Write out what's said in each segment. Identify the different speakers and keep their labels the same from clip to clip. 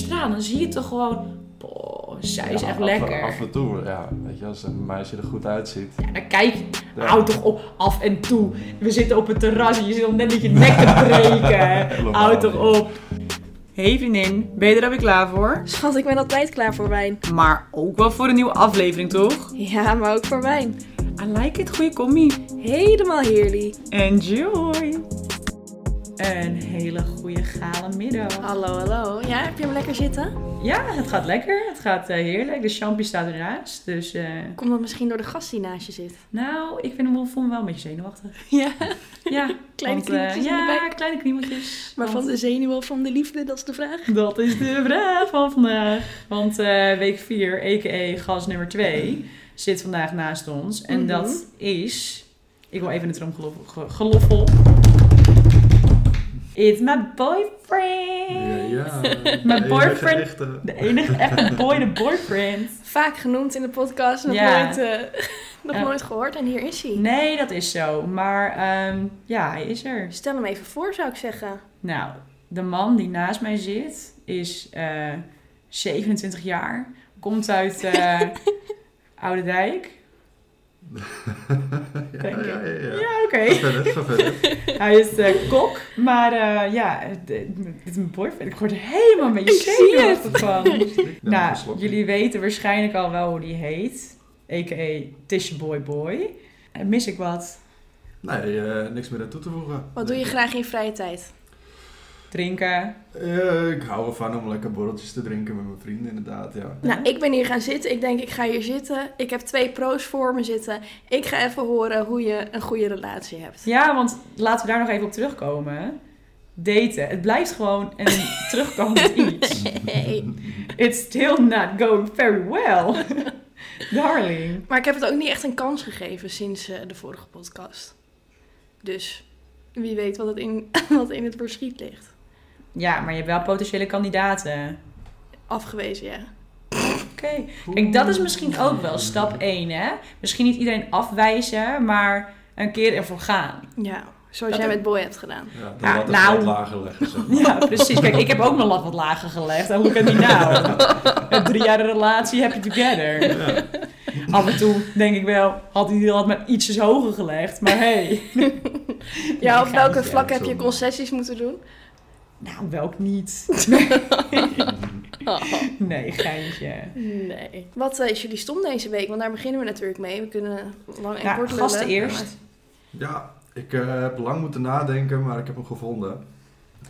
Speaker 1: gaan, dan zie je toch gewoon... Boah, zij is
Speaker 2: Ja,
Speaker 1: echt
Speaker 2: af-
Speaker 1: lekker.
Speaker 2: Af en toe, ja. Weet je, als een meisje er goed uitziet.
Speaker 1: Ja, dan kijk,
Speaker 2: Ja.
Speaker 1: hou toch op, af en toe. We zitten op het terras en je zit om net met je nek te breken.
Speaker 2: Helemaal
Speaker 1: hou toch
Speaker 2: niet.
Speaker 1: op. Hey vriendin, ben je er alweer klaar voor?
Speaker 3: Schat, ik ben altijd klaar voor wijn.
Speaker 1: Maar ook wel voor een nieuwe aflevering, toch?
Speaker 3: Ja, maar ook voor wijn.
Speaker 1: I like it, goede commie.
Speaker 3: Helemaal heerlijk.
Speaker 1: Enjoy! Een hele goede gale middag.
Speaker 3: Hallo, hallo. Ja, heb je hem lekker zitten?
Speaker 1: Ja, het gaat lekker. Het gaat eh, heerlijk. De champagne staat ernaast. Dus eh,
Speaker 3: Komt dat misschien door de gast die naast je zit?
Speaker 1: nou, ik vind hem wel, vond hem wel een beetje zenuwachtig.
Speaker 3: Ja,
Speaker 1: Ja,
Speaker 3: Kleine
Speaker 1: eh,
Speaker 3: kniemeltjes in de
Speaker 1: Ja,
Speaker 3: buik.
Speaker 1: kleine kniemeltjes.
Speaker 3: maar van
Speaker 1: Want-
Speaker 3: de zenuw of van de liefde, dat is de vraag.
Speaker 1: Dat is de vraag van vandaag. Want eh, week 4, a.k.a. gas nummer 2, zit vandaag naast ons. En
Speaker 3: Mhm.
Speaker 1: dat is... Ik wil even een tromgeloffel. ge- geloffel. It's my boyfriend. Mijn boyfriend- De enige echte boy, de boyfriend.
Speaker 3: Vaak genoemd in de podcast, nog,
Speaker 1: Ja.
Speaker 3: nooit, eh, nog
Speaker 1: Ja.
Speaker 3: nooit gehoord. En hier is hij.
Speaker 1: Nee, dat is zo. Maar ehm, ja, hij is er.
Speaker 3: Stel hem even voor, zou ik zeggen.
Speaker 1: Nou, de man die naast mij zit is eh, 27 jaar. Komt uit eh Oude Dijk. Denk ik.
Speaker 2: ja, ja, ja.
Speaker 1: Ja, oké.
Speaker 2: Ga verder, ga verder.
Speaker 1: Hij is eh, kok, maar eh, ja, het- het is mijn boyfriend. Ik word er helemaal een beetje
Speaker 3: Ik zie
Speaker 1: zenuwachtig van.
Speaker 2: Ja,
Speaker 1: nou, jullie weten waarschijnlijk al wel hoe die heet. A.k.a. Tisha Boy Boy. Eh, mis ik wat?
Speaker 2: Nee, eh, niks meer aan toe te voegen.
Speaker 3: Wat doe je graag in je vrije tijd?
Speaker 1: Drinken?
Speaker 2: Eh, ik hou ervan om lekker borreltjes te drinken met mijn vrienden, inderdaad. Ja.
Speaker 3: Nou, ik ben hier gaan zitten. Ik denk, ik ga hier zitten. Ik heb twee pro's voor me zitten. Ik ga even horen hoe je een goede relatie hebt.
Speaker 1: Ja, want laten we daar nog even op terugkomen. Daten. Het blijft gewoon een terugkomend iets.
Speaker 3: Hey.
Speaker 1: It's still not going very well. Darling.
Speaker 3: Maar ik heb het ook niet echt een kans gegeven sinds eh, de vorige podcast. Dus wie weet wat, het in, wat in het verschiet ligt.
Speaker 1: Ja, maar je hebt wel potentiële kandidaten.
Speaker 3: Afgewezen, ja.
Speaker 1: Oké. Kijk, dat is misschien ook wel stap 1, hè? Misschien niet iedereen afwijzen, maar een keer ervoor gaan.
Speaker 3: Ja, zoals
Speaker 1: Dat
Speaker 3: jij
Speaker 1: heb-
Speaker 3: met Boy hebt gedaan.
Speaker 2: Ja, de
Speaker 1: Ja,
Speaker 2: lat is
Speaker 1: nou.
Speaker 2: wat lager leggen, zeg maar.
Speaker 1: Ja, precies. Kijk, ik heb ook mijn lat wat lager gelegd. En hoe kan die nou? Een drie jaar relatie, happy together.
Speaker 2: Ja.
Speaker 1: Af en toe denk ik wel, had hij die lat maar ietsjes hoger gelegd. Maar hey.
Speaker 3: Ja, op
Speaker 1: ik
Speaker 2: ga
Speaker 3: welke
Speaker 2: niet zeggen,
Speaker 3: vlak heb je
Speaker 2: zomaar.
Speaker 3: concessies moeten doen?
Speaker 1: Nou, welk niet?
Speaker 2: Mm-hmm.
Speaker 1: Nee, geintje.
Speaker 3: nee. Wat eh, is jullie stom deze week? Want daar beginnen we natuurlijk mee. We kunnen lang en
Speaker 1: Nou,
Speaker 3: kort
Speaker 1: gasten
Speaker 3: lullen.
Speaker 1: eerst.
Speaker 2: Ja, ik eh, heb lang moeten nadenken, maar ik heb hem gevonden.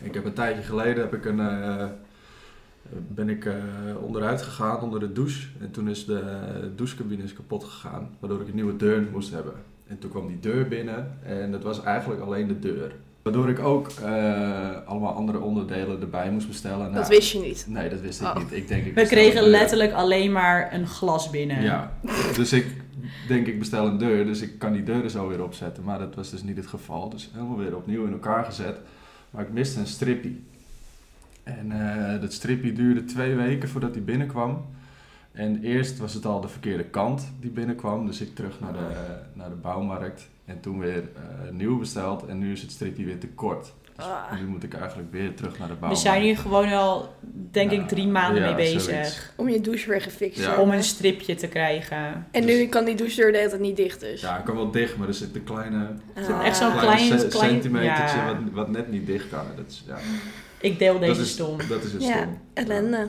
Speaker 2: Ik heb een tijdje geleden heb ik een, eh, ben ik eh, onderuit gegaan onder de douche. En toen is de douchecabine is kapot gegaan, waardoor ik een nieuwe deur moest hebben. En toen kwam die deur binnen en dat was eigenlijk alleen de deur. Waardoor ik ook eh, allemaal andere onderdelen erbij moest bestellen.
Speaker 3: Dat
Speaker 2: Nou,
Speaker 3: wist je niet.
Speaker 2: Nee, dat wist ik
Speaker 3: Oh.
Speaker 2: niet. Ik denk, ik
Speaker 1: We
Speaker 2: bestel
Speaker 1: kregen
Speaker 2: een deur.
Speaker 1: letterlijk alleen maar een glas binnen.
Speaker 2: Ja, dus ik denk ik bestel een deur, dus ik kan die deuren zo weer opzetten. Maar dat was dus niet het geval, dus helemaal weer opnieuw in elkaar gezet. Maar ik miste een strippie. En eh, dat strippie duurde twee weken voordat die binnenkwam. En eerst was het al de verkeerde kant die binnenkwam, dus ik terug naar de, naar de bouwmarkt. En toen weer eh, nieuw besteld en nu is het strippie weer te kort. Dus
Speaker 3: Ah.
Speaker 2: nu moet ik eigenlijk weer terug naar de
Speaker 1: We
Speaker 2: bouwmarkt.
Speaker 1: zijn hier gewoon al, denk ik,
Speaker 2: Nou,
Speaker 1: drie maanden
Speaker 2: ja,
Speaker 1: mee bezig.
Speaker 2: zoiets.
Speaker 3: Om je douche weer gefixt te
Speaker 2: Ja.
Speaker 3: hebben.
Speaker 1: Om een stripje te krijgen.
Speaker 3: En nu kan die douchedeur de hele tijd niet dicht dus.
Speaker 2: Ja, ik kan wel dicht, maar er zit een kleine
Speaker 3: Ah.
Speaker 1: zit echt zo'n
Speaker 2: Een
Speaker 1: klein-
Speaker 2: ce-
Speaker 1: klein-
Speaker 2: centimetertje
Speaker 1: ja.
Speaker 2: wat, wat net niet dicht kan. Dat is, ja,
Speaker 1: Ik deel
Speaker 2: dat
Speaker 1: deze
Speaker 2: is,
Speaker 1: stom.
Speaker 2: Dat is een
Speaker 3: Ja,
Speaker 2: stom.
Speaker 3: ellende.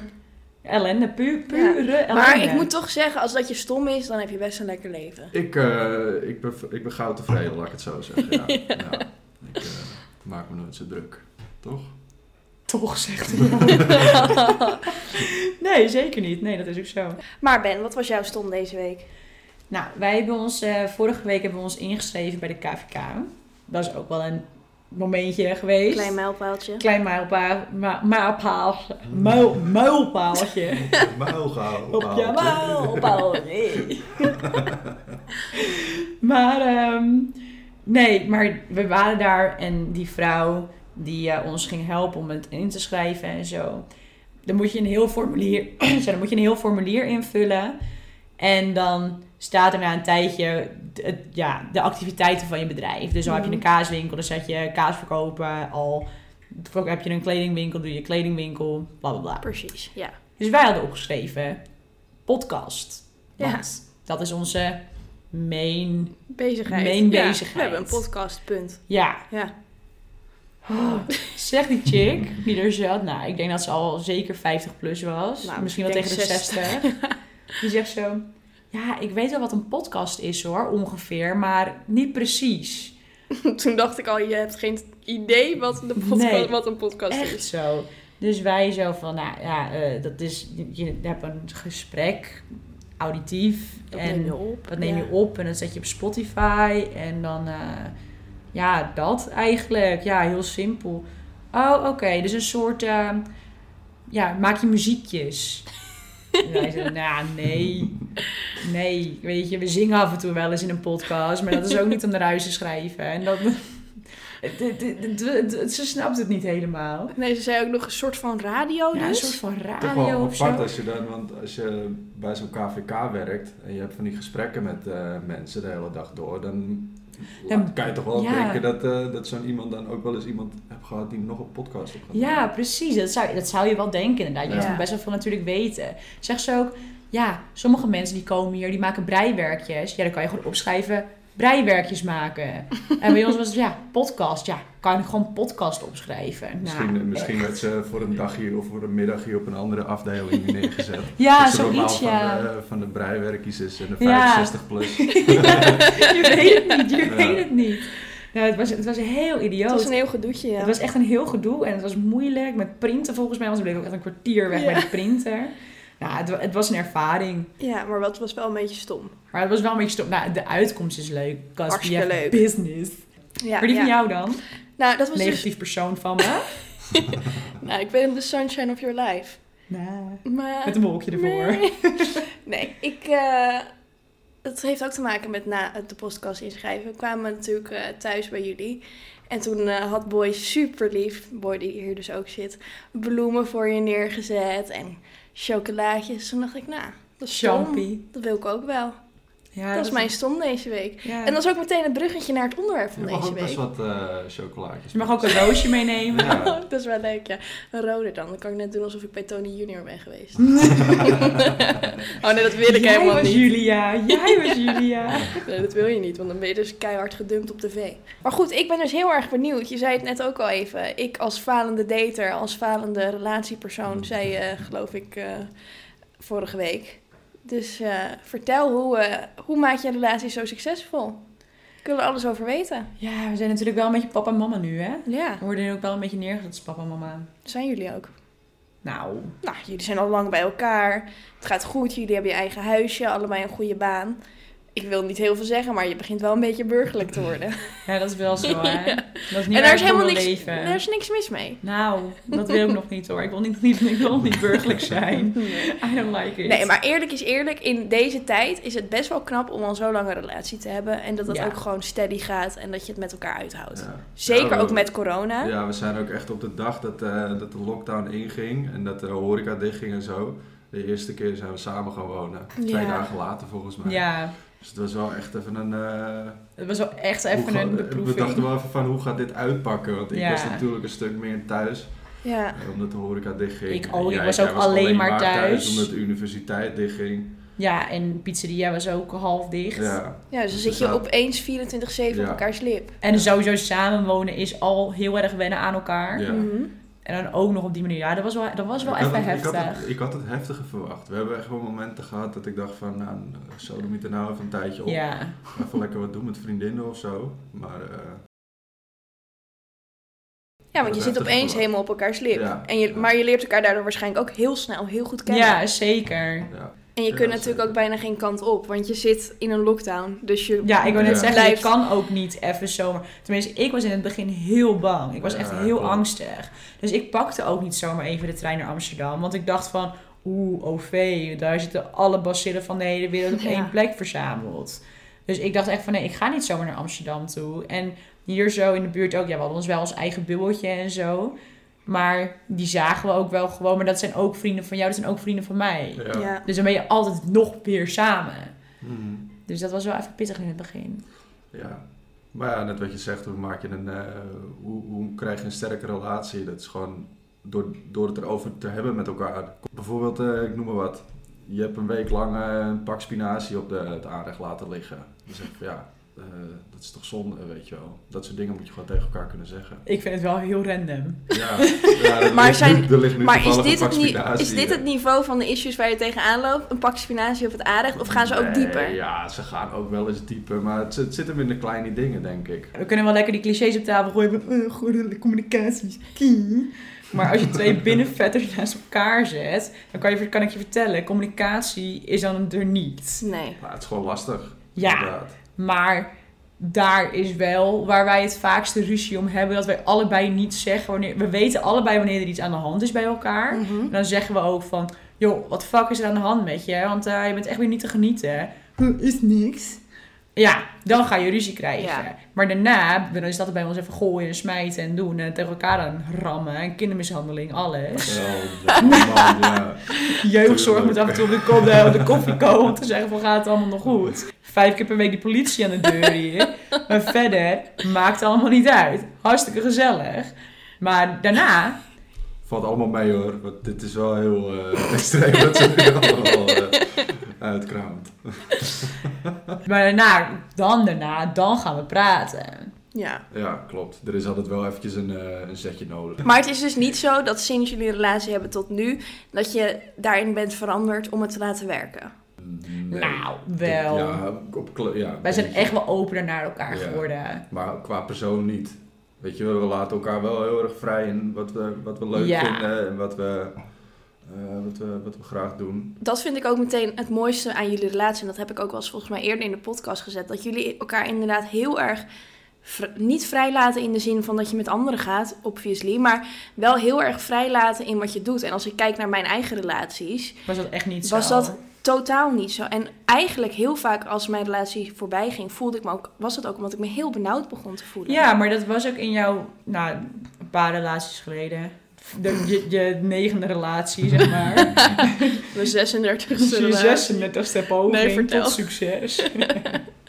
Speaker 1: Ellende, puur, pure ellende.
Speaker 3: Maar ik moet toch zeggen, als dat je stom is, dan heb je best een lekker leven.
Speaker 2: Ik, eh, ik, ben, ik ben gauw tevreden, laat ik het zo zeggen. Ja. ja. Ik eh, maak me nooit zo druk. Toch?
Speaker 1: Toch, zegt hij. nee, zeker niet. Nee, dat is ook zo.
Speaker 3: Maar Ben, wat was jouw stom deze week?
Speaker 1: Nou, wij hebben ons... eh, vorige week hebben we ons ingeschreven bij de KVK. Dat is ook wel een momentje geweest.
Speaker 3: Klein mijlpaaltje.
Speaker 1: Klein mijlpaal... ma- Mijlpaal... muil- Muilpaaltje.
Speaker 2: Muil gauw.
Speaker 1: Op je mouw, nee. maar ehm, nee, maar we waren daar en die vrouw die eh, ons ging helpen om het in te schrijven en zo. Dan moet je een heel formulier, zo, dan moet je een heel formulier invullen. En dan staat er na een tijdje d- het, ja, de activiteiten van je bedrijf. Dus dan heb je een
Speaker 3: Mhm.
Speaker 1: kaaswinkel, dan zet je kaas verkopen al Ook heb je een kledingwinkel, doe je kledingwinkel, bla bla bla.
Speaker 3: Precies, ja.
Speaker 1: Dus wij hadden opgeschreven podcast.
Speaker 3: Ja.
Speaker 1: Want dat is onze main.
Speaker 3: Bezigheid.
Speaker 1: Main
Speaker 3: Ja,
Speaker 1: bezigheid.
Speaker 3: We hebben een podcast, punt.
Speaker 1: Ja.
Speaker 3: Ja.
Speaker 1: Oh, zeg die chick die er zat. Nou, ik denk dat ze al zeker 50 plus was.
Speaker 3: Nou,
Speaker 1: Misschien
Speaker 3: ik
Speaker 1: wel
Speaker 3: denk
Speaker 1: tegen de 60. Die zegt zo. Ja, ik weet wel wat een podcast is hoor, ongeveer, maar niet precies.
Speaker 3: Toen dacht ik al, je hebt geen idee wat, de podcast,
Speaker 1: Nee.
Speaker 3: wat een podcast
Speaker 1: Echt
Speaker 3: is.
Speaker 1: zo. Dus wij zo van, nou ja, eh, dat is, je hebt een gesprek, auditief.
Speaker 3: Dat
Speaker 1: en
Speaker 3: neem je op.
Speaker 1: dat neem
Speaker 3: ja.
Speaker 1: je op en dat zet je op Spotify. En dan, eh, ja, dat eigenlijk. Ja, heel simpel. Oh, oké. Dus een soort, eh, ja, maak je muziekjes. En wij zeiden, nou nee, nee. Weet je, we zingen af en toe wel eens in een podcast. Maar dat is ook niet om naar huis te schrijven. En dat... Het, het- het- het- het- ze snapt het niet helemaal.
Speaker 3: Nee, ze zei ook nog een soort van radio
Speaker 1: Ja, een
Speaker 3: dus.
Speaker 1: soort van
Speaker 2: Toch wel
Speaker 1: radio of
Speaker 2: apart
Speaker 1: zo.
Speaker 2: als je dan, want als je bij zo'n KVK werkt en je hebt van die gesprekken met eh, mensen de hele dag door, dan
Speaker 1: Dan-
Speaker 2: kan je toch wel
Speaker 1: ja.
Speaker 2: denken dat, eh, dat zo'n iemand dan ook wel eens iemand hebt gehad die nog een podcast op gaat
Speaker 1: Ja, precies. Dat zou, dat zou je wel denken inderdaad. Je
Speaker 2: Ja.
Speaker 1: moet best wel veel natuurlijk weten. Zeg ze ook, ja, sommige mensen die komen hier, die maken breiwerkjes. Ja, dan kan je gewoon opschrijven, breiwerkjes maken. en bij ons was het, ja, podcast. Ja, kan ik gewoon podcast opschrijven.
Speaker 2: Misschien, eh,
Speaker 1: Nou,
Speaker 2: misschien werd ze voor een dagje of voor een middagje op een andere afdeling neergezet.
Speaker 1: Ja,
Speaker 2: Dat ze normaal
Speaker 1: zoiets,
Speaker 2: van, eh,
Speaker 1: ja.
Speaker 2: de, van de breiwerkjes is en de
Speaker 1: Ja.
Speaker 2: 65 plus.
Speaker 1: je weet het niet, je
Speaker 2: Ja.
Speaker 1: weet het niet. Nou, het was, het was heel idioot.
Speaker 3: Het was een heel gedoetje, ja.
Speaker 1: Het was echt een heel gedoe en het was moeilijk met printen volgens mij. Want ze bleef ook echt een kwartier weg
Speaker 3: Ja.
Speaker 1: bij de printer. Ja, het, wa- het was een ervaring.
Speaker 3: Ja, maar dat was wel een beetje stom.
Speaker 1: Maar het was wel een beetje stom. Nou, de uitkomst is leuk. Cause we
Speaker 3: Hartstikke
Speaker 1: have
Speaker 3: leuk.
Speaker 1: business.
Speaker 3: Ja,
Speaker 1: maar die van
Speaker 3: ja.
Speaker 1: jou dan?
Speaker 3: Nou, dat was dus...
Speaker 1: Negatief persoon van me.
Speaker 3: Nou, ik ben de sunshine of your life.
Speaker 1: nou,
Speaker 3: Maar...
Speaker 1: met een wolkje ervoor.
Speaker 3: Nee, nee ik... eh, het heeft ook te maken met na het de podcast inschrijven. We kwamen natuurlijk eh, thuis bij jullie. En toen eh, had Boy super lief, Boy die hier dus ook zit, bloemen voor je neergezet en chocolaatjes. Toen dacht ik, nou, dat is stom.
Speaker 1: Champie.
Speaker 3: Dat wil ik ook wel.
Speaker 1: Ja,
Speaker 3: dat is mijn stom deze week.
Speaker 1: ja. oh,
Speaker 3: En dat is ook meteen het bruggetje naar het onderwerp
Speaker 2: Je
Speaker 3: van
Speaker 2: mag
Speaker 3: deze
Speaker 2: ook best
Speaker 3: week.
Speaker 2: wat eh, chocolaatjes.
Speaker 1: Dus Je mag ook een roosje meenemen.
Speaker 2: Ja.
Speaker 3: dat is wel leuk, ja. Een rode dan. Dan kan ik net doen alsof ik bij Tony Junior ben geweest. oh nee, dat wil ik
Speaker 1: Jij
Speaker 3: helemaal
Speaker 1: was
Speaker 3: niet.
Speaker 1: Julia. Jij was Julia.
Speaker 3: Nee, dat wil je niet, want dan ben je dus keihard gedumpt op tv. Maar goed, ik ben dus heel erg benieuwd. Je zei het net ook al even. Ik als falende dater, als falende relatiepersoon, zei je geloof ik eh, vorige week. Dus eh, vertel, hoe, eh, hoe maak je een relatie zo succesvol? Ik wil er alles over weten.
Speaker 1: Ja, we zijn natuurlijk wel een beetje papa en mama nu, hè?
Speaker 3: Ja,
Speaker 1: We worden nu ook wel een beetje neergezet als papa en mama.
Speaker 3: zijn jullie ook.
Speaker 1: Nou,
Speaker 3: Nou, jullie zijn al lang bij elkaar. Het gaat goed, jullie hebben je eigen huisje, allebei een goede baan. Ik wil niet heel veel zeggen, maar je begint wel een beetje burgerlijk te worden.
Speaker 1: ja, dat is wel zo, hè?
Speaker 3: Ja.
Speaker 1: Dat is niet
Speaker 3: En
Speaker 1: waar
Speaker 3: daar
Speaker 1: ik
Speaker 3: is
Speaker 1: voor
Speaker 3: helemaal
Speaker 1: wil
Speaker 3: niks,
Speaker 1: leven.
Speaker 3: daar is niks mis mee.
Speaker 1: Nou, dat wil ik nog niet, hoor. Ik wil niet, niet, ik wil niet burgerlijk zijn. I don't like it.
Speaker 3: Nee, maar eerlijk is eerlijk. In deze tijd is het best wel knap om al zo lang een relatie te hebben. En dat dat
Speaker 1: Ja.
Speaker 3: ook gewoon steady gaat en dat je het met elkaar uithoudt.
Speaker 2: Ja.
Speaker 3: Zeker
Speaker 2: Ja, we-
Speaker 3: ook met corona.
Speaker 2: Ja, we zijn ook echt op de dag dat, eh, dat de lockdown inging en dat de horeca dichtging en zo. De eerste keer zijn we samen gaan wonen. Twee
Speaker 3: Ja.
Speaker 2: dagen later volgens mij.
Speaker 1: Ja,
Speaker 2: Dus het was wel echt even een... eh,
Speaker 1: het was wel echt
Speaker 2: hoe
Speaker 1: even
Speaker 2: ga-
Speaker 1: een
Speaker 2: we dachten
Speaker 1: beproeving.
Speaker 2: wel even van hoe gaat dit uitpakken? Want ik
Speaker 1: Ja.
Speaker 2: was natuurlijk een stuk meer thuis.
Speaker 3: Ja.
Speaker 2: eh, Omdat de horeca dichtging.
Speaker 1: Ik
Speaker 2: En
Speaker 1: ook, ik
Speaker 2: jij-
Speaker 1: was
Speaker 2: jij
Speaker 1: ook alleen maar thuis.
Speaker 2: Omdat de universiteit dichtging.
Speaker 1: Ja, en pizzeria was ook half dicht.
Speaker 2: Ja.
Speaker 3: Ja, dus dan
Speaker 2: Dus
Speaker 3: zit
Speaker 2: we
Speaker 3: je
Speaker 2: zaten-
Speaker 3: opeens 24-7 op
Speaker 2: Ja.
Speaker 3: elkaars lip.
Speaker 1: En sowieso samenwonen is al heel erg wennen aan elkaar.
Speaker 2: Ja.
Speaker 3: Mhm.
Speaker 1: En dan ook nog op die manier. Ja, dat was wel, dat was wel
Speaker 2: Ik
Speaker 1: even
Speaker 2: had het-
Speaker 1: heftig.
Speaker 2: Ik had, het, ik had het heftiger verwacht. We hebben echt wel momenten gehad dat ik dacht van... Nou, zo doe ik er nou even een tijdje op.
Speaker 1: ja.
Speaker 2: Even lekker wat doen met vriendinnen of zo. Maar eh,
Speaker 3: Ja, want je
Speaker 2: Dat
Speaker 3: zit
Speaker 2: heeft
Speaker 3: opeens
Speaker 2: ervoor.
Speaker 3: helemaal op elkaars lip.
Speaker 2: Ja.
Speaker 3: En je,
Speaker 2: Ja.
Speaker 3: Maar je leert elkaar daardoor waarschijnlijk ook heel snel heel goed kennen.
Speaker 1: ja, zeker.
Speaker 2: ja.
Speaker 3: En je
Speaker 2: Ja,
Speaker 3: kunt natuurlijk
Speaker 2: zeker.
Speaker 3: ook bijna geen kant op, want je zit in een lockdown. Dus je
Speaker 1: Ja, ik wil net
Speaker 2: Ja.
Speaker 1: zeggen, je
Speaker 3: Blijft-
Speaker 1: kan ook niet even zomaar. Tenminste, ik was in het begin heel bang. Ik was
Speaker 2: Ja,
Speaker 1: echt heel
Speaker 2: klopt.
Speaker 1: angstig. Dus ik pakte ook niet zomaar even de trein naar Amsterdam. Want ik dacht van, oeh, OV, daar zitten alle bacillen van de hele wereld op
Speaker 3: Ja.
Speaker 1: één plek verzameld. Dus ik dacht echt van, nee, ik ga niet zomaar naar Amsterdam toe. En hier zo in de buurt ook, ja, we hadden ons wel ons eigen bubbeltje en zo. Maar die zagen we ook wel gewoon. Maar dat zijn ook vrienden van jou, dat zijn ook vrienden van mij.
Speaker 2: Ja.
Speaker 3: Ja.
Speaker 1: Dus dan ben je altijd nog weer samen.
Speaker 2: Mhm.
Speaker 1: Dus dat was wel even pittig in het begin.
Speaker 2: Ja. Maar ja, net wat je zegt, hoe, maak je een, eh, hoe, hoe krijg je een sterke relatie? Dat is gewoon door, door het erover te hebben met elkaar. Bijvoorbeeld, eh, ik noem maar wat. Je hebt een week lang eh, een pak spinazie op de, het aanrecht laten liggen. Dan zeg ik van ja, eh, dat is toch zonde, weet je wel. Dat soort dingen moet je gewoon tegen elkaar kunnen zeggen.
Speaker 1: Ik vind het wel heel random.
Speaker 2: Ja, ja er
Speaker 3: Maar
Speaker 2: ligt nu-
Speaker 3: zijn-
Speaker 2: er ligt nu
Speaker 3: Maar is
Speaker 2: toevallig een
Speaker 3: dit,
Speaker 2: pak
Speaker 3: het ni-
Speaker 2: spinazie,
Speaker 3: is
Speaker 2: eh.
Speaker 3: dit het niveau van de issues waar je tegenaan loopt? Een pak spinazie op het aanrecht? Of gaan ze ook
Speaker 2: Nee,
Speaker 3: dieper?
Speaker 2: Ja, ze gaan ook wel eens dieper, maar het, het zit hem in de kleine dingen, denk ik.
Speaker 1: We kunnen wel lekker die clichés op tafel gooien van eh, goede communicatie is key. Maar als je twee binnenvetters naast elkaar zet, dan kan, je, kan ik je vertellen, communicatie is dan er niet.
Speaker 3: Nee.
Speaker 2: Maar het is gewoon lastig.
Speaker 1: Ja,
Speaker 2: inderdaad.
Speaker 1: maar daar is wel waar wij het vaakste ruzie om hebben, dat wij allebei niet zeggen wanneer... We weten allebei wanneer er iets aan de hand is bij elkaar. En dan zeggen we ook van, joh, wat fuck is er aan de hand met je? Want eh, je bent echt weer niet te genieten. hè? Hm, Is niks. Ja, dan ga je ruzie krijgen.
Speaker 3: Ja.
Speaker 1: Maar daarna, dan is dat bij ons even gooien en smijten en doen en tegen elkaar aan rammen en kindermishandeling, alles.
Speaker 2: Oh, man, ja.
Speaker 1: Jeugdzorg moet af en toe op de, ko- de- op de koffie komen om te zeggen van gaat het allemaal nog goed. Vijf keer per week die politie aan de deur hier. Maar verder, maakt het allemaal niet uit. Hartstikke gezellig. Maar daarna,
Speaker 2: Valt allemaal mee hoor, want dit is wel heel eh, extreem dat ze nu allemaal eh, uitkraamt.
Speaker 1: maar daarna, dan daarna, dan gaan we praten.
Speaker 3: Ja.
Speaker 2: Ja, klopt. Er is altijd wel eventjes een, eh, een zetje nodig.
Speaker 3: Maar het is dus niet zo dat sinds jullie een relatie hebben tot nu, dat je daarin bent veranderd om het te laten werken.
Speaker 2: Nee.
Speaker 1: Nou, wel.
Speaker 2: Ja, op, kle- ja,
Speaker 1: Wij zijn
Speaker 2: beetje.
Speaker 1: echt wel opener naar elkaar
Speaker 2: Ja.
Speaker 1: geworden.
Speaker 2: Maar qua persoon niet. Weet je, we laten elkaar wel heel erg vrij in wat we, wat we leuk
Speaker 1: Ja.
Speaker 2: vinden en wat we, eh, wat, we, wat we graag doen.
Speaker 3: Dat vind ik ook meteen het mooiste aan jullie relatie. En dat heb ik ook wel eens volgens mij eerder in de podcast gezet. Dat jullie elkaar inderdaad heel erg vr- niet vrij laten in de zin van dat je met anderen gaat, obviously. Maar wel heel erg vrij laten in wat je doet. En als ik kijk naar mijn eigen relaties,
Speaker 1: Was dat echt niet zo?
Speaker 3: Was dat totaal niet zo. En eigenlijk heel vaak als mijn relatie voorbij ging, voelde ik me ook, was dat ook omdat ik me heel benauwd begon te voelen.
Speaker 1: Ja, maar dat was ook in jouw... Nou, een paar relaties geleden. De, je, je negende relatie, zeg maar.
Speaker 3: Mijn 36
Speaker 1: Dus je 36 step poging
Speaker 3: Nee, vertel.
Speaker 1: tot succes.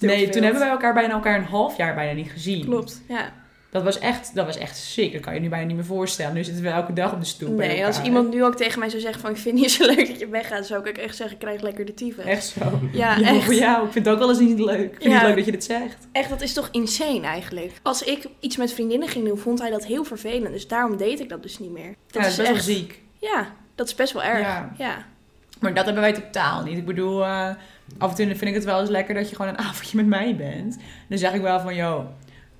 Speaker 1: nee, toen hebben wij elkaar bijna elkaar een half jaar bijna niet gezien.
Speaker 3: Klopt, ja.
Speaker 1: Dat was echt, dat was echt sick. Dat kan je nu bijna niet meer voorstellen. Nu zitten we elke dag op de stoep bij
Speaker 3: Nee, als
Speaker 1: elkaar.
Speaker 3: iemand nu ook tegen mij zou zeggen van ik vind het niet zo leuk dat je weggaat, zou ik ook echt zeggen, ik krijg lekker de tyfus.
Speaker 1: Echt zo.
Speaker 3: Ja,
Speaker 1: Ja,
Speaker 3: echt.
Speaker 1: Voor jou. Ik vind het ook wel eens niet leuk. Ik vind
Speaker 3: Ja.
Speaker 1: het leuk dat je dit zegt.
Speaker 3: Echt, dat is toch insane eigenlijk. Als ik iets met vriendinnen ging doen, vond hij dat heel vervelend. Dus daarom deed ik dat dus niet meer.
Speaker 1: Ja, dat is best wel ziek.
Speaker 3: Ja, dat is best wel erg.
Speaker 1: Ja.
Speaker 3: ja.
Speaker 1: Maar dat hebben wij totaal niet. Ik bedoel, eh, af en toe vind ik het wel eens lekker dat je gewoon een avondje met mij bent. Dan zeg ik wel van, joh,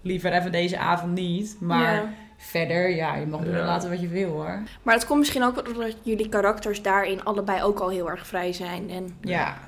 Speaker 1: liever even deze avond niet. Maar
Speaker 3: Ja.
Speaker 1: verder, ja, je mag doen
Speaker 2: Ja.
Speaker 1: en laten wat je wil hoor.
Speaker 3: Maar het komt misschien ook wel doordat jullie karakters daarin allebei ook al heel erg vrij zijn. En
Speaker 1: Ja.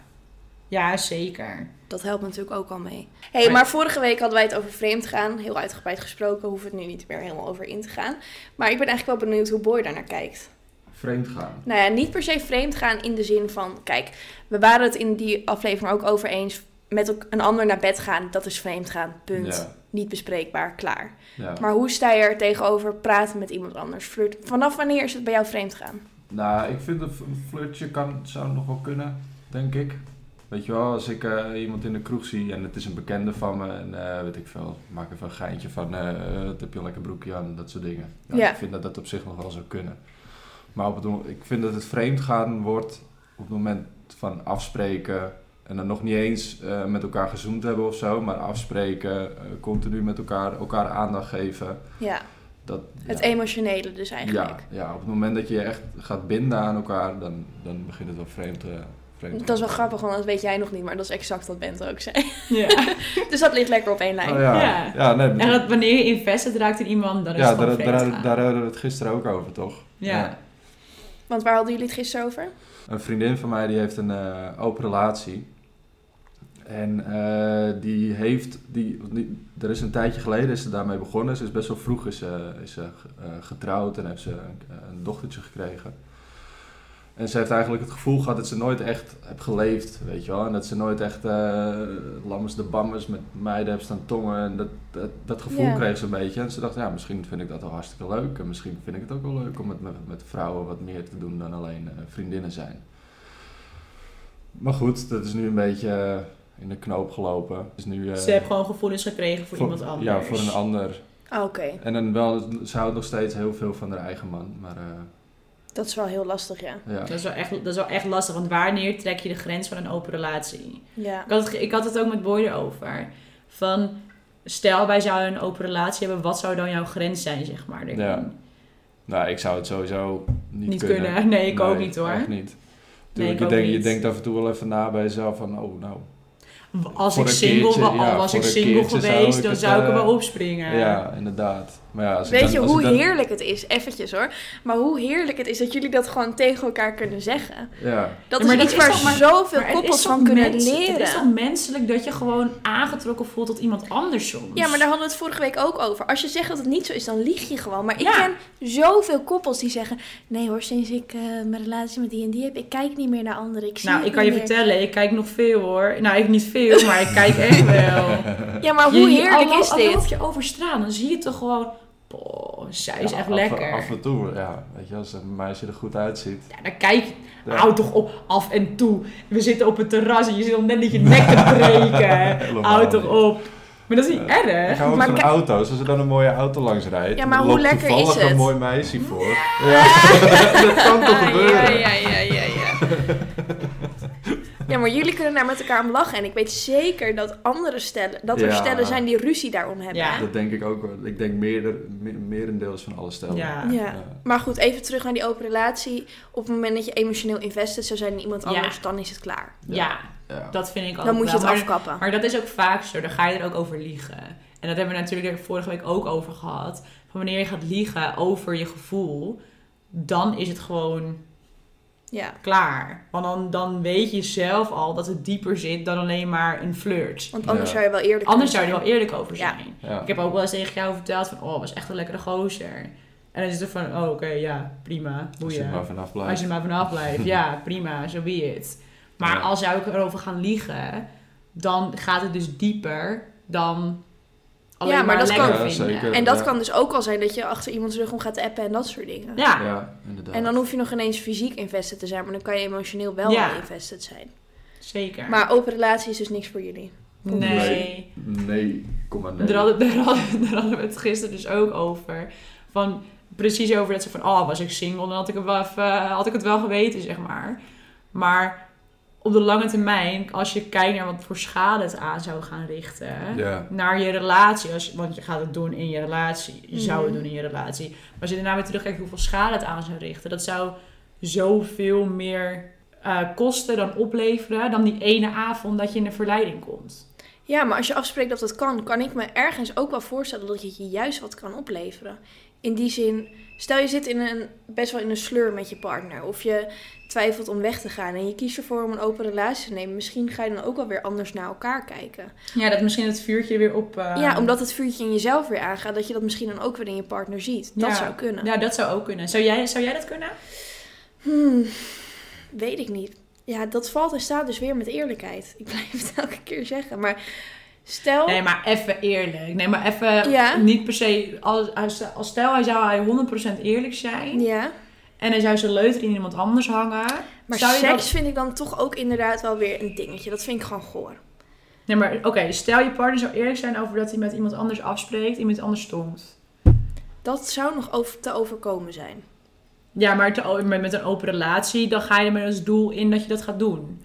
Speaker 1: Ja, zeker.
Speaker 3: dat helpt natuurlijk ook al mee. hey, maar vorige week hadden wij het over vreemd gaan. Heel uitgebreid gesproken. Hoeven we het nu niet meer helemaal over in te gaan. Maar ik ben eigenlijk wel benieuwd hoe Boy daarnaar kijkt.
Speaker 2: Vreemd gaan.
Speaker 3: Nou ja, niet per se vreemd gaan in de zin van... Kijk, we waren het in die aflevering ook over eens. Met elk- een ander naar bed gaan, dat is vreemd gaan. Punt.
Speaker 2: Ja,
Speaker 3: Niet bespreekbaar, klaar.
Speaker 2: ja.
Speaker 3: Maar hoe sta je er tegenover praten met iemand anders? Flirt. Vanaf wanneer is het bij jou vreemd gaan?
Speaker 2: Nou, ik vind een f- een flirtje kan, zou nog wel kunnen, denk ik. Weet je wel, als ik eh, iemand in de kroeg zie en het is een bekende van me en eh, weet ik veel, maak even een geintje van, eh eh, wat heb je een lekker broekje aan, dat soort dingen. Ja,
Speaker 3: Ja.
Speaker 2: Ik vind dat dat op zich nog wel zou kunnen. Maar op het, mo- ik vind dat het vreemd gaan wordt op het moment van afspreken en dan nog niet eens eh, met elkaar gezoomd hebben of zo, maar afspreken, eh, continu met elkaar, elkaar aandacht geven.
Speaker 3: Ja,
Speaker 2: Dat,
Speaker 3: het
Speaker 2: ja.
Speaker 3: emotionele dus eigenlijk.
Speaker 2: Ja, ja, op het moment dat je je echt gaat binden aan elkaar, dan, dan begint het wel vreemd, eh, vreemd te
Speaker 3: Dat is wel
Speaker 2: worden.
Speaker 3: grappig, want dat weet jij nog niet, maar dat is exact wat Bente ook zei.
Speaker 1: Ja.
Speaker 3: Dus dat ligt lekker op één lijn.
Speaker 2: Oh, ja.
Speaker 1: Ja.
Speaker 2: ja. nee,
Speaker 1: en
Speaker 2: bedoel-
Speaker 1: dat wanneer je invested raakt in iemand, dan is
Speaker 2: ja
Speaker 1: het gewoon
Speaker 2: daar,
Speaker 1: vreemd
Speaker 2: daar,
Speaker 1: gaan.
Speaker 2: daar hadden we het gisteren ook over, toch?
Speaker 1: Ja.
Speaker 3: Want waar hadden jullie het gisteren over?
Speaker 2: Een vriendin van mij die heeft een eh, open relatie. En eh, die heeft, die, die- er is een tijdje geleden is ze daarmee begonnen. Ze is best wel vroeg is ze, is ze eh, getrouwd en heeft ze een, een dochtertje gekregen. En ze heeft eigenlijk het gevoel gehad dat ze nooit echt heeft geleefd, weet je wel. En dat ze nooit echt eh lammers de bammers met meiden heeft staan tongen. En dat, dat, dat gevoel
Speaker 3: Ja.
Speaker 2: kreeg ze een beetje. En ze dacht, ja, misschien vind ik dat wel hartstikke leuk. En misschien vind ik het ook wel leuk om het met, met vrouwen wat meer te doen dan alleen eh, vriendinnen zijn. Maar goed, dat is nu een beetje... eh, in de knoop gelopen. Dus nu... eh,
Speaker 1: Ze hebben gewoon gevoelens gekregen voor, iemand anders.
Speaker 2: Ja, voor een ander.
Speaker 3: Ah, Oké,
Speaker 2: En dan wel, ze houdt nog steeds heel veel van haar eigen man. Maar eh,
Speaker 3: dat is wel heel lastig, ja.
Speaker 2: ja.
Speaker 1: Dat is, wel echt, dat is wel echt lastig, want wanneer trek je de grens van een open relatie?
Speaker 3: Ja,
Speaker 1: Ik had het, ge- ik had het ook met Boy erover. Van, stel wij zouden een open relatie hebben, wat zou dan jouw grens zijn, zeg maar? daarin?
Speaker 2: Ja. Nou, ik zou het sowieso niet,
Speaker 1: Niet kunnen. Nee, ik ook niet hoor.
Speaker 2: Echt niet. Tuurlijk,
Speaker 1: ik
Speaker 2: je,
Speaker 1: ook
Speaker 2: denkt- je
Speaker 1: niet.
Speaker 2: denkt af en toe wel even na bij jezelf van, oh nou.
Speaker 1: Als
Speaker 2: Voor
Speaker 1: ik
Speaker 2: een
Speaker 1: single,
Speaker 2: keertje,
Speaker 1: wa-
Speaker 2: ja,
Speaker 1: al was
Speaker 2: voor
Speaker 1: ik
Speaker 2: een
Speaker 1: single
Speaker 2: keertje zou
Speaker 1: geweest,
Speaker 2: ik
Speaker 1: dan
Speaker 2: het,
Speaker 1: zou ik er
Speaker 2: eh,
Speaker 1: wel
Speaker 2: Ja,
Speaker 1: opspringen.
Speaker 2: inderdaad. Maar ja, als ik
Speaker 3: Weet
Speaker 2: dan-
Speaker 3: je
Speaker 2: als
Speaker 3: hoe
Speaker 2: ik dan-
Speaker 3: heerlijk het is? Eventjes hoor. Maar hoe heerlijk het is dat jullie dat gewoon tegen elkaar kunnen zeggen.
Speaker 2: Ja,
Speaker 3: Dat
Speaker 1: Ja, maar
Speaker 3: is
Speaker 1: dat
Speaker 3: iets
Speaker 1: is
Speaker 3: waar
Speaker 1: toch maar-
Speaker 3: zoveel
Speaker 1: Maar het
Speaker 3: koppels
Speaker 1: is toch
Speaker 3: van kunnen
Speaker 1: mens- Het is toch
Speaker 3: leren.
Speaker 1: menselijk dat je gewoon aangetrokken voelt tot iemand anders soms.
Speaker 3: Ja, maar daar hadden we het vorige week ook over. Als je zegt dat het niet zo is, dan lieg je gewoon. Maar ik
Speaker 1: Ja.
Speaker 3: ken zoveel koppels die zeggen... Nee hoor, sinds ik eh, mijn relatie met die en die heb... Ik kijk niet meer naar anderen. Ik zie
Speaker 1: Nou,
Speaker 3: het
Speaker 1: ik kan je
Speaker 3: niet meer.
Speaker 1: vertellen, ik kijk nog veel hoor. Nou, ik niet veel, maar ik kijk echt wel.
Speaker 3: Ja, maar Nou, hoe
Speaker 1: Je-
Speaker 3: heerlijk
Speaker 1: al-
Speaker 3: is
Speaker 1: al
Speaker 3: dit?
Speaker 1: loop je over straat, dan zie je toch gewoon... Boah, zij is
Speaker 2: Ja,
Speaker 1: echt
Speaker 2: af,
Speaker 1: lekker.
Speaker 2: Af en toe, ja. Weet je, als een meisje er goed uitziet.
Speaker 1: Ja, dan kijk je...
Speaker 2: Ja.
Speaker 1: Hou toch op, af en toe. We zitten op het terras en je zit om net niet je nek te breken.
Speaker 2: Helemaal
Speaker 1: Hou toch
Speaker 2: niet.
Speaker 1: op. Maar dat is niet
Speaker 2: Ik
Speaker 1: erg.
Speaker 2: hou ook
Speaker 3: Maar
Speaker 2: van
Speaker 3: ki-
Speaker 2: auto's. Als er dan een mooie auto langs rijdt.
Speaker 3: Ja, maar
Speaker 2: en er
Speaker 3: hoe
Speaker 2: loopt
Speaker 3: lekker is
Speaker 2: toevallig
Speaker 3: het?
Speaker 2: een mooi meisje voor. Ja. dat kan toch gebeuren?
Speaker 3: Ja, ja, ja, ja, ja. Ja, maar jullie kunnen daar met elkaar om lachen. En ik weet zeker dat andere stellen, dat er
Speaker 2: Ja.
Speaker 3: stellen zijn die ruzie daarom hebben.
Speaker 1: Ja.
Speaker 3: hè?
Speaker 2: Dat denk ik ook wel. Ik denk meerder, me- merendeels van alle stellen.
Speaker 1: Ja.
Speaker 3: Ja. Maar goed, even terug naar die open relatie. Op het moment dat je emotioneel invested zou zijn in iemand
Speaker 1: Ja.
Speaker 3: anders, dan is het klaar.
Speaker 1: Ja,
Speaker 2: Ja.
Speaker 1: dat vind ik ook
Speaker 3: Dan moet je
Speaker 1: wel.
Speaker 3: het
Speaker 1: nou, Maar-
Speaker 3: afkappen.
Speaker 1: Maar dat is ook vaak zo. Dan ga je er ook over liegen. En dat hebben we natuurlijk vorige week ook over gehad. Van wanneer je gaat liegen over je gevoel, dan is het gewoon
Speaker 3: Ja.
Speaker 1: klaar. Want dan, dan weet je zelf al dat het dieper zit dan alleen maar een flirt.
Speaker 3: Want anders
Speaker 2: Ja.
Speaker 3: zou je wel eerder
Speaker 1: Anders zou
Speaker 3: kunnen
Speaker 1: je er wel
Speaker 3: zijn.
Speaker 1: eerlijk over
Speaker 3: Oh, Ja.
Speaker 1: zijn.
Speaker 2: Ja.
Speaker 1: Ik heb ook wel eens tegen jou verteld van, oh, was echt een lekkere gozer. En dan is het van, oh, oké, ja, prima,
Speaker 2: Als je er maar
Speaker 1: boeien.
Speaker 2: vanaf
Speaker 1: Als
Speaker 2: blijft.
Speaker 1: je er maar vanaf blijft, ja, prima, zo be it. Maar
Speaker 2: Ja.
Speaker 1: als zou ik erover gaan liegen, dan gaat het dus dieper dan alleen
Speaker 3: Ja, maar
Speaker 1: maar,
Speaker 3: dat
Speaker 1: lekker
Speaker 2: kan- Ja,
Speaker 1: vinden.
Speaker 2: zeker.
Speaker 3: En dat
Speaker 2: Ja.
Speaker 3: kan dus ook al zijn dat je achter iemands rug om gaat appen en dat soort dingen.
Speaker 1: Ja,
Speaker 2: Ja, inderdaad.
Speaker 3: En dan hoef je nog ineens fysiek invested te zijn, maar dan kan je emotioneel wel
Speaker 1: Ja.
Speaker 3: al invested zijn.
Speaker 1: zeker.
Speaker 3: Maar open relatie is dus niks voor jullie.
Speaker 1: nee.
Speaker 2: Nee. Nee, kom maar nee.
Speaker 1: Daar, hadden, daar, hadden, daar hadden we het gisteren dus ook over. Van, precies over dat ze van, oh, was ik single, dan had ik, het wel even- had ik het wel geweten, zeg maar. Maar op de lange termijn, als je kijkt naar wat voor schade het aan zou gaan richten...
Speaker 2: Ja.
Speaker 1: Naar je relatie, als, want je gaat het doen in je relatie. Je zou het
Speaker 3: Mhm.
Speaker 1: doen in je relatie. Maar als je daarna weer terugkijkt hoeveel schade het aan zou richten... Dat zou zoveel meer eh, kosten dan opleveren... dan die ene avond dat je in de verleiding komt.
Speaker 3: Ja, maar als je afspreekt dat dat kan, kan ik me ergens ook wel voorstellen dat je je juist wat kan opleveren. In die zin, stel je zit in een, best wel in een sleur met je partner. Of je twijfelt om weg te gaan en je kiest ervoor om een open relatie te nemen. Misschien ga je dan ook wel weer anders naar elkaar kijken.
Speaker 1: Ja, dat misschien het vuurtje weer op... eh,
Speaker 3: ja, omdat het vuurtje in jezelf weer aangaat, dat je dat misschien dan ook weer in je partner ziet. Dat
Speaker 1: Ja.
Speaker 3: zou kunnen.
Speaker 1: Ja, Nou, dat zou ook kunnen. Zou jij, zou jij dat kunnen?
Speaker 3: Hmm, weet ik niet. Ja, dat valt en staat dus weer met eerlijkheid. Ik blijf het elke keer zeggen. Maar stel...
Speaker 1: Nee, maar even eerlijk. Nee, maar even
Speaker 3: Ja.
Speaker 1: niet per se... Als, als, als stel, hij zou hij 100% eerlijk zijn...
Speaker 3: ja.
Speaker 1: en hij zou zijn leuter in iemand anders hangen...
Speaker 3: Maar
Speaker 1: zou je
Speaker 3: seks
Speaker 1: dat-
Speaker 3: vind ik dan toch ook inderdaad wel weer een dingetje. Dat vind ik gewoon goor.
Speaker 1: Nee, maar oké, stel je partner zou eerlijk zijn over dat hij met iemand anders afspreekt... iemand anders stond.
Speaker 3: Dat zou nog over te overkomen zijn.
Speaker 1: Ja, maar te- met, met een open relatie, dan ga je er met als doel in dat je dat gaat doen. Want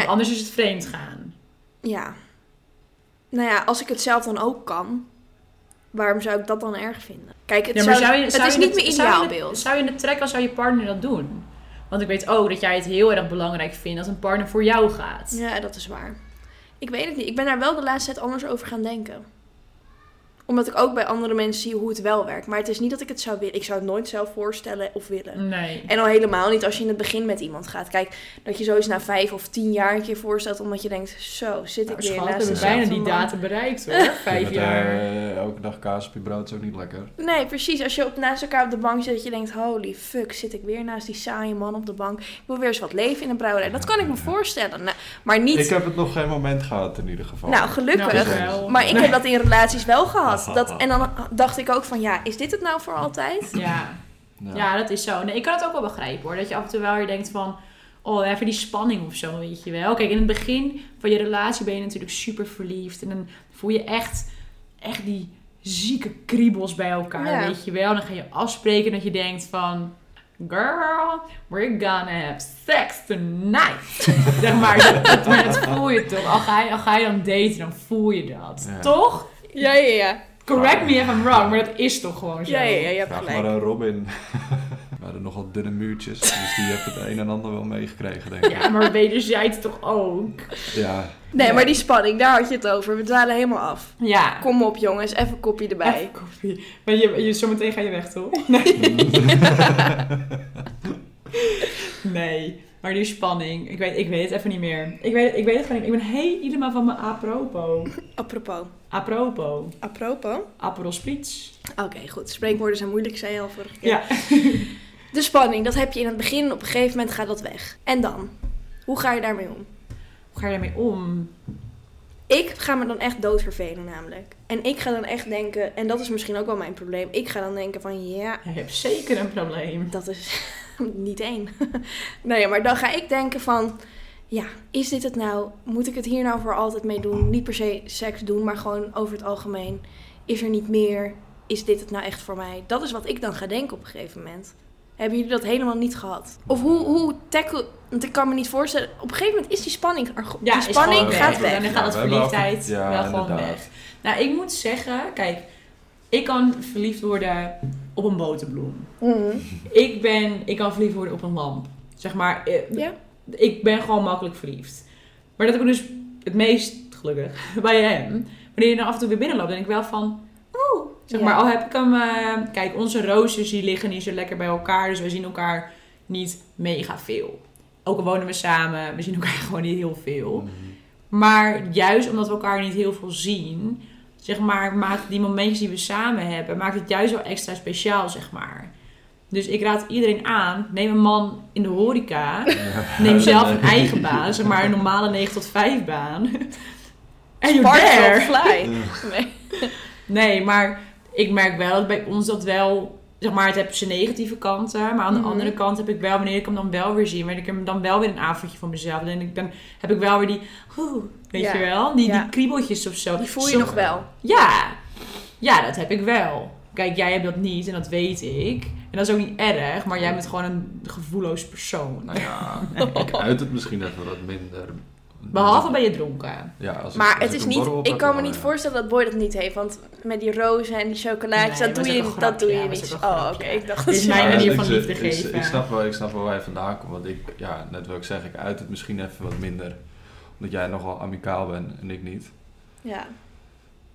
Speaker 3: Nee.
Speaker 1: anders is het vreemd gaan.
Speaker 3: Nou Ja. Nou ja, als ik het zelf dan ook kan, waarom zou ik dat dan erg vinden? Kijk, het,
Speaker 1: Ja, maar
Speaker 3: zou,
Speaker 1: zou je,
Speaker 3: het
Speaker 1: zou
Speaker 3: is
Speaker 1: je
Speaker 3: niet
Speaker 1: het-
Speaker 3: mijn
Speaker 1: zou je het-
Speaker 3: ideaalbeeld.
Speaker 1: Zou je het trekken, zou je partner dat doen? Want ik weet ook dat jij het heel erg belangrijk vindt dat een partner voor jou gaat.
Speaker 3: Ja, dat is waar. Ik weet het niet. Ik ben daar wel de laatste tijd anders over gaan denken. Omdat ik ook bij andere mensen zie hoe het wel werkt. Maar het is niet dat ik het zou willen. Ik zou het nooit zelf voorstellen of willen.
Speaker 1: Nee.
Speaker 3: En al helemaal niet als je in het begin met iemand gaat. Kijk, dat je zoiets na vijf of tien jaar een keer voorstelt, omdat je denkt, zo zit ik
Speaker 1: Nou,
Speaker 3: weer
Speaker 1: schat, we
Speaker 3: naast
Speaker 1: hebben
Speaker 2: dezelfde
Speaker 1: bijna
Speaker 3: dezelfde
Speaker 1: die
Speaker 3: man.
Speaker 1: datum bereikt hoor. Vijf
Speaker 2: Met,
Speaker 1: jaar.
Speaker 2: eh, elke dag kaas op je brood is ook niet lekker.
Speaker 3: Nee, precies. Als je op, naast elkaar op de bank zit, dat je denkt, holy fuck, zit ik weer naast die saaie man op de bank. Ik wil weer eens wat leven in een brouwerij. Dat kan ik me voorstellen. Nou, maar
Speaker 2: Ik
Speaker 3: niet,
Speaker 2: heb het nog geen moment gehad in ieder geval.
Speaker 3: nou gelukkig.
Speaker 2: Nou, Ah,
Speaker 3: maar ik
Speaker 1: Nee.
Speaker 3: heb dat in relaties wel gehad. Dat, en dan dacht ik ook van, ja, is dit het nou voor altijd?
Speaker 1: Ja.
Speaker 2: Ja.
Speaker 1: ja, dat is zo. Nee, ik kan het ook wel begrijpen hoor. Dat je af en toe wel weer denkt van... Oh, even die spanning of zo, weet je wel. Kijk, in het begin van je relatie ben je natuurlijk super verliefd. En dan voel je echt, echt die zieke kriebels bij elkaar,
Speaker 3: Ja.
Speaker 1: weet je wel. Dan ga je afspreken dat je denkt van... Girl, we're gonna have sex tonight. zeg maar, dat, dat voel je toch. Al ga je, al ga je dan daten, dan voel je dat.
Speaker 2: Ja.
Speaker 1: Toch?
Speaker 3: Ja, ja, ja.
Speaker 1: Correct me if I'm wrong, maar dat is toch gewoon zo.
Speaker 3: Ja, ja, ja, je hebt
Speaker 2: Vraag
Speaker 3: gelijk.
Speaker 2: maar aan Robin. We hadden nogal dunne muurtjes, dus die heeft het een en ander wel meegekregen, denk ik.
Speaker 1: Ja, maar wederzijds toch ook.
Speaker 2: Ja,
Speaker 3: Nee, maar die spanning, daar had je het over. We dwalen helemaal af.
Speaker 1: Ja.
Speaker 3: Kom op jongens, even een kopje erbij.
Speaker 1: Even koffie. Maar je, je, zometeen ga je weg, toch? nee. Maar die spanning, ik weet, ik weet het even niet meer. Ik weet, ik weet het gewoon niet. Ik ben helemaal van mijn apropos.
Speaker 3: Apropos.
Speaker 1: Apropos.
Speaker 3: Apropos?
Speaker 1: Aperol spritz.
Speaker 3: Oké, goed. Spreekwoorden zijn moeilijk, zei je al vorige keer.
Speaker 1: Ja.
Speaker 3: De spanning, dat heb je in het begin. Op een gegeven moment gaat dat weg. En dan? Hoe ga je daarmee om?
Speaker 1: Hoe ga je daarmee om?
Speaker 3: Ik ga me dan echt doodvervelen namelijk. En ik ga dan echt denken, en dat is misschien ook wel mijn probleem. Ik ga dan denken van ja,
Speaker 1: Je hebt zeker een probleem.
Speaker 3: dat is niet één. nou ja, maar dan ga ik denken van... Ja, is dit het nou? Moet ik het hier nou voor altijd mee doen? Niet per se seks doen, maar gewoon over het algemeen. Is er niet meer? Is dit het nou echt voor mij? Dat is wat ik dan ga denken op een gegeven moment. Hebben jullie dat helemaal niet gehad? Of hoe, hoe tackle... Want ik kan me niet voorstellen... Op een gegeven moment is die spanning... er go-
Speaker 1: Ja, is
Speaker 3: die spanning
Speaker 1: gewoon
Speaker 3: gaat
Speaker 1: weg.
Speaker 3: weg.
Speaker 1: Dan gaat dat
Speaker 2: we hebben
Speaker 1: verliefdheid
Speaker 2: al-
Speaker 1: wel gewoon weg. Nou, ik moet zeggen, kijk, ik kan verliefd worden op een boterbloem.
Speaker 3: Mhm.
Speaker 1: Ik ben, ik kan verliefd worden op een lamp. Zeg maar, eh,
Speaker 3: Ja.
Speaker 1: ik ben gewoon makkelijk verliefd. Maar dat heb ik dus het meest gelukkig bij hem. Wanneer je dan af en toe weer binnenloopt, denk ik wel van... Oeh, zeg
Speaker 3: Ja.
Speaker 1: maar, al heb ik hem... eh, kijk, onze roosters die liggen niet zo lekker bij elkaar. Dus we zien elkaar niet mega veel. Ook al wonen we samen, we zien elkaar gewoon niet heel
Speaker 2: Mm.
Speaker 1: veel. Maar juist omdat we elkaar niet heel veel zien, zeg maar, maakt die momentjes die we samen hebben, maakt het juist wel extra speciaal, zeg maar. Dus ik raad iedereen aan, neem een man in de horeca, neem zelf een eigen baan, zeg maar een normale 9 tot 5 baan. En you're
Speaker 3: Sparks
Speaker 1: there.
Speaker 3: will fly. Nee.
Speaker 1: Nee, maar ik merk wel dat bij ons dat wel... Zeg maar, het heeft zijn negatieve kanten. Maar aan de
Speaker 3: Mhm.
Speaker 1: andere kant heb ik wel, wanneer ik hem dan wel weer zie... wanneer ik hem dan wel weer een avondje van mezelf... dan, ik, dan heb ik wel weer die... oeh, weet
Speaker 3: Ja.
Speaker 1: je wel? Die,
Speaker 3: Ja.
Speaker 1: die kriebeltjes of zo.
Speaker 3: Die voel je
Speaker 1: Somm-
Speaker 3: nog wel.
Speaker 1: Ja. Ja, dat heb ik wel. Kijk, jij hebt dat niet en dat weet ik. En dat is ook niet erg, maar jij bent gewoon een gevoelloos persoon.
Speaker 2: Nou ja, ik uit het misschien even wat minder.
Speaker 1: Behalve ben je dronken.
Speaker 2: Ja, als ik-
Speaker 3: Maar
Speaker 2: als
Speaker 3: het
Speaker 2: ik
Speaker 3: is
Speaker 2: een
Speaker 3: niet,
Speaker 2: borrel op
Speaker 3: ik
Speaker 2: heb,
Speaker 3: kan me
Speaker 2: dan eh,
Speaker 3: niet
Speaker 2: ja.
Speaker 3: voorstellen dat Boy dat niet heeft. Want met die rozen en die chocolaatjes,
Speaker 1: Nee,
Speaker 3: dat,
Speaker 1: was
Speaker 3: doe
Speaker 1: ook
Speaker 3: je,
Speaker 1: een
Speaker 3: dat doe je
Speaker 1: grapje,
Speaker 3: niet.
Speaker 1: was ook een
Speaker 3: Oh, oké.
Speaker 1: grapje.
Speaker 3: Ik dacht
Speaker 1: Dit
Speaker 3: dat
Speaker 1: is
Speaker 3: je...
Speaker 1: mijn
Speaker 2: Ja,
Speaker 1: manier
Speaker 2: ik
Speaker 1: van
Speaker 2: zeg-
Speaker 1: liefde
Speaker 2: ik-
Speaker 1: geven.
Speaker 2: Ik snap, wel, ik snap wel waar je vandaan komt. Want ik, ja, net wil ik zeggen, ik uit het misschien even wat minder. Omdat jij nogal amicaal bent en ik niet.
Speaker 3: Ja.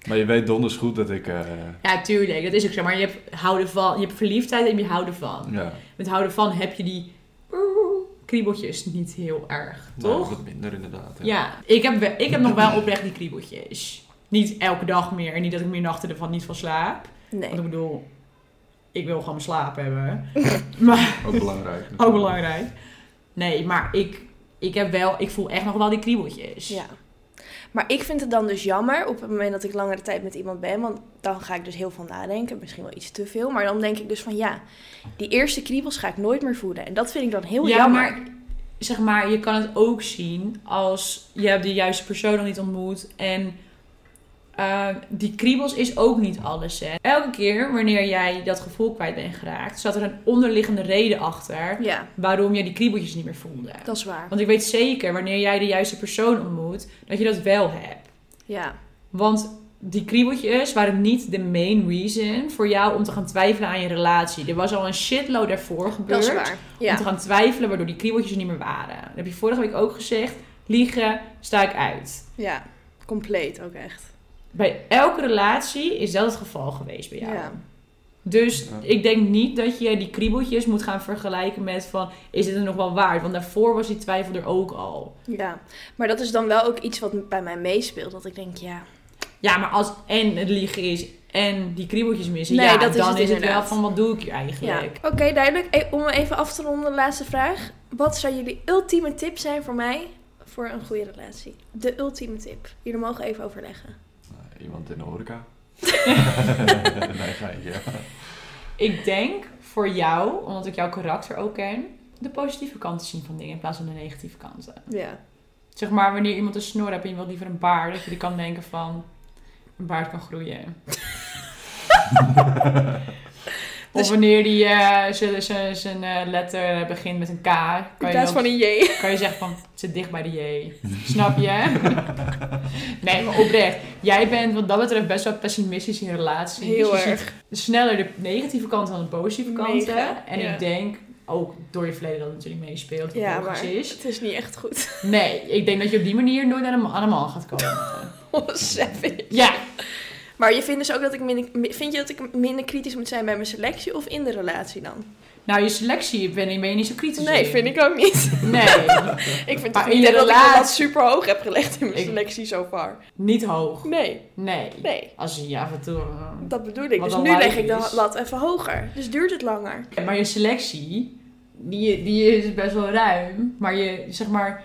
Speaker 2: Maar je weet donders goed dat ik... eh,
Speaker 1: Ja, tuurlijk. Dat is ook zo. Maar je hebt, houden van, je hebt verliefdheid en je houden van.
Speaker 2: ja, nou,
Speaker 1: met houden van heb je die kriebeltjes niet heel erg,
Speaker 2: nou,
Speaker 1: toch?
Speaker 2: wat minder inderdaad.
Speaker 1: ja, Ik, heb, we- ik heb nog wel oprecht die kriebeltjes. Niet elke dag meer. En niet dat ik meer nachten ervan niet van slaap.
Speaker 3: Nee.
Speaker 1: Want ik bedoel, ik wil gewoon mijn slaap hebben. maar
Speaker 2: Ook belangrijk. natuurlijk.
Speaker 1: ook belangrijk. Nee, maar ik, ik heb wel, ik voel echt nog wel die kriebeltjes.
Speaker 3: Ja. Maar ik vind het dan dus jammer op het moment dat ik langere tijd met iemand ben. Want dan ga ik dus heel veel nadenken. Misschien wel iets te veel. Maar dan denk ik dus van ja, die eerste kriebels ga ik nooit meer voelen. En dat vind ik dan heel
Speaker 1: ja,
Speaker 3: jammer.
Speaker 1: maar zeg maar, je kan het ook zien als je hebt de juiste persoon nog niet ontmoet en eh, die kriebels is ook niet alles. Hè. Elke keer wanneer jij dat gevoel kwijt bent geraakt, zat er een onderliggende reden achter
Speaker 3: Ja,
Speaker 1: waarom jij die kriebeltjes niet meer voelde.
Speaker 3: dat is waar.
Speaker 1: Want ik weet zeker, wanneer jij de juiste persoon ontmoet, dat je dat wel hebt.
Speaker 3: Ja.
Speaker 1: Want die kriebeltjes waren niet de main reason voor jou om te gaan twijfelen aan je relatie. Er was al een shitload daarvoor
Speaker 3: Dat
Speaker 1: gebeurd
Speaker 3: is waar.
Speaker 1: om
Speaker 3: Ja.
Speaker 1: te gaan twijfelen, waardoor die kriebeltjes er niet meer waren. Dat heb je vorige week ook gezegd. Liegen, sta ik uit.
Speaker 3: ja, compleet ook echt.
Speaker 1: Bij elke relatie is dat het geval geweest bij jou.
Speaker 3: Ja.
Speaker 1: Dus
Speaker 2: Ja.
Speaker 1: ik denk niet dat je die kriebeltjes moet gaan vergelijken met van... is dit er nog wel waard? Want daarvoor was die twijfel er ook al.
Speaker 3: Ja, maar dat is dan wel ook iets wat bij mij meespeelt. Dat ik denk, ja,
Speaker 1: Ja, maar als en het liegen is en die kriebeltjes missen...
Speaker 3: Nee,
Speaker 1: ja,
Speaker 3: dat is
Speaker 1: dan
Speaker 3: het
Speaker 1: is het wel
Speaker 3: inderdaad.
Speaker 1: van wat doe ik hier
Speaker 3: ja.
Speaker 1: eigenlijk?
Speaker 3: Oké, duidelijk. E- Om even af te ronden, de laatste vraag. Wat zou jullie ultieme tip zijn voor mij voor een goede relatie? De ultieme tip. Jullie mogen even overleggen.
Speaker 2: Nou, Iemand in de horeca. nee, geintje.
Speaker 1: Ik denk voor jou, omdat ik jouw karakter ook ken... de positieve kanten zien van dingen in plaats van de negatieve kanten.
Speaker 3: Ja.
Speaker 1: Zeg maar, wanneer iemand een snor hebt en je wilt liever een baard, dat je die kan denken van, een baard kan groeien. Of
Speaker 3: Dus-
Speaker 1: wanneer die eh, z- z- zijn eh, letter begint met een K, kan
Speaker 3: In
Speaker 1: je,
Speaker 3: plaats
Speaker 1: dan-
Speaker 3: van een J.
Speaker 1: kan je zeggen van, het zit dicht bij de J. Snap je? nee, maar oprecht. Jij bent wat dat betreft best wel pessimistisch in relaties.
Speaker 3: Heel
Speaker 1: Je ziet
Speaker 3: erg.
Speaker 1: sneller de negatieve kant dan de positieve kant.
Speaker 3: Mega,
Speaker 1: En
Speaker 3: ja.
Speaker 1: ik denk, ook door je verleden dat het natuurlijk meespeelt, wat
Speaker 3: Ja,
Speaker 1: logisch
Speaker 3: maar
Speaker 1: is.
Speaker 3: het is niet echt goed.
Speaker 1: Nee, ik denk dat je op die manier nooit aan een, aan een man gaat komen.
Speaker 3: Oh, savage.
Speaker 1: ja,
Speaker 3: Maar je vindt dus ook dat ik minder, mi- vind je dat ik minder kritisch moet zijn bij mijn selectie of in de relatie dan?
Speaker 1: nou je selectie ben je, ben je niet zo kritisch
Speaker 3: Nee,
Speaker 1: in.
Speaker 3: vind ik ook niet.
Speaker 1: Nee,
Speaker 3: Ik vind
Speaker 1: Maar
Speaker 3: het
Speaker 1: in
Speaker 3: niet
Speaker 1: de
Speaker 3: dat ik me dat
Speaker 1: relatie-
Speaker 3: super hoog heb gelegd in mijn
Speaker 1: Ik-
Speaker 3: selectie zo far.
Speaker 1: niet hoog.
Speaker 3: Nee,
Speaker 1: Nee.
Speaker 3: nee.
Speaker 1: Als je af en toe...
Speaker 3: Dat bedoel ik.
Speaker 1: Wat
Speaker 3: Dus
Speaker 1: dan
Speaker 3: nu leg
Speaker 1: live
Speaker 3: ik de
Speaker 1: is.
Speaker 3: lat even hoger. Dus duurt het langer.
Speaker 1: Maar je selectie, die, die is best wel ruim. Maar je, zeg maar,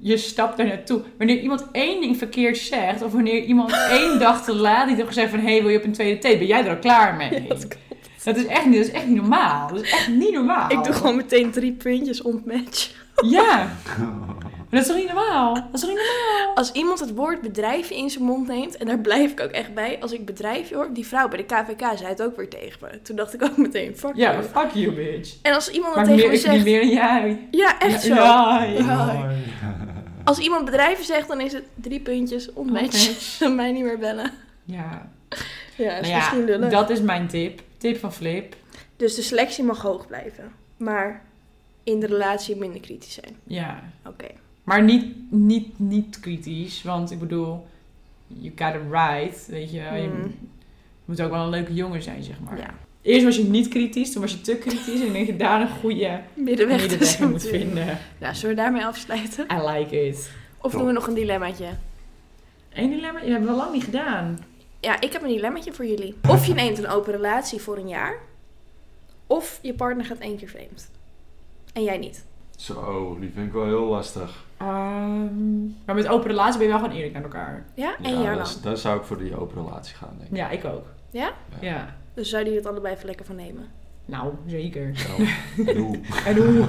Speaker 1: je stapt er naartoe. Wanneer iemand één ding verkeerd zegt, of wanneer iemand één dag te laat, die heeft gezegd van, hé, hey, wil je op een tweede date? Ben jij er al klaar mee?
Speaker 3: dat
Speaker 1: dat, is echt niet, dat is echt niet normaal. Dat is echt niet normaal.
Speaker 3: Ik doe gewoon meteen drie puntjes ontmatch.
Speaker 1: Ja. Maar dat is toch niet normaal? Dat is toch niet normaal?
Speaker 3: Als iemand het woord bedrijf in zijn mond neemt, en daar blijf ik ook echt bij, als ik bedrijf hoor, die vrouw bij de KVK zei het ook weer tegen me. Toen dacht ik ook meteen, fuck
Speaker 1: Ja,
Speaker 3: you.
Speaker 1: fuck you, bitch.
Speaker 3: En als iemand dat
Speaker 1: Maar
Speaker 3: tegen
Speaker 1: meer,
Speaker 3: me
Speaker 1: ik niet
Speaker 3: zegt,
Speaker 1: meer dan jij.
Speaker 3: ja echt zo.
Speaker 1: Ja, ja.
Speaker 3: Ja. Als iemand bedrijven zegt, dan is het drie puntjes ontmatch. Dan mij niet meer bellen.
Speaker 1: Ja.
Speaker 3: Ja, is
Speaker 1: Nou
Speaker 3: misschien
Speaker 1: ja,
Speaker 3: lullig.
Speaker 1: dat is mijn tip. Tip van Flip.
Speaker 3: Dus de selectie mag hoog blijven. Maar in de relatie minder kritisch zijn.
Speaker 1: Ja.
Speaker 3: Oké.
Speaker 1: Maar niet, niet, niet kritisch, want ik bedoel, you got it right, weet je. wel. Je
Speaker 3: Mm.
Speaker 1: moet ook wel een leuke jongen zijn, zeg maar.
Speaker 3: Ja.
Speaker 1: Eerst was je niet kritisch, toen was je te kritisch en ik denk dat je daar een goede
Speaker 3: Middenweg,
Speaker 1: middenweg
Speaker 3: tussen
Speaker 1: in moet vinden.
Speaker 3: Nou, zullen we daarmee afsluiten?
Speaker 1: I like it.
Speaker 3: Of doen we nog een dilemmaatje?
Speaker 1: Eén dilemma, je hebt wel lang niet gedaan.
Speaker 3: Ja, ik heb een dilemmaatje voor jullie. Of je neemt een open relatie voor een jaar. Of je partner gaat één keer vreemd. En jij niet.
Speaker 2: Zo, die vind ik wel heel lastig.
Speaker 1: Ehm, maar met open relatie ben je wel gewoon eerlijk naar elkaar.
Speaker 3: Ja, één jaar
Speaker 2: dat
Speaker 3: lang.
Speaker 2: is- daar zou ik voor die open relatie gaan, denk ik.
Speaker 1: Ja, ik ook.
Speaker 3: Ja?
Speaker 1: Ja.
Speaker 3: Dus zouden jullie het allebei even lekker van nemen?
Speaker 1: Nou, zeker.
Speaker 2: Zo, doe.
Speaker 1: En hoe?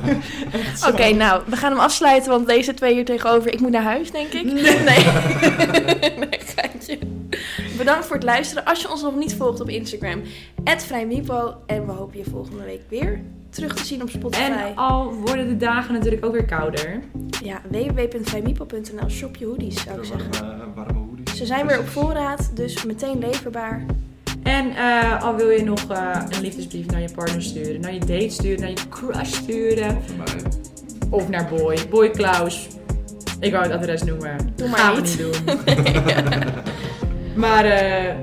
Speaker 1: Echt zo.
Speaker 3: Oké, nou, we gaan hem afsluiten, want deze twee hier tegenover. Ik moet naar huis, denk ik. Nee. Nee, geintje. Bedankt voor het luisteren. Als je ons nog niet volgt op Instagram, vrijmipo. En we hopen je volgende week weer terug te zien op Spotify.
Speaker 1: En al worden de dagen natuurlijk ook weer kouder.
Speaker 3: Ja, www.vrijmipo.nl. Shop je hoodies, zou ik zeggen.
Speaker 2: Warme, warme hoodies.
Speaker 3: Ze zijn weer op voorraad, dus meteen leverbaar.
Speaker 1: En eh, al wil je nog eh, een liefdesbrief naar je partner sturen, naar je date sturen, naar je crush sturen.
Speaker 2: Voor mij.
Speaker 1: Of naar Boy. Boy Klaus. Ik wou het adres noemen.
Speaker 3: Doe maar
Speaker 1: Gaan we
Speaker 3: niet.
Speaker 1: niet doen. maar eh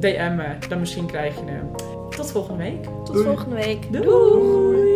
Speaker 1: DM me, dan misschien krijg je hem. Tot volgende week.
Speaker 3: Tot
Speaker 2: Doei.
Speaker 3: volgende week.
Speaker 1: Doei.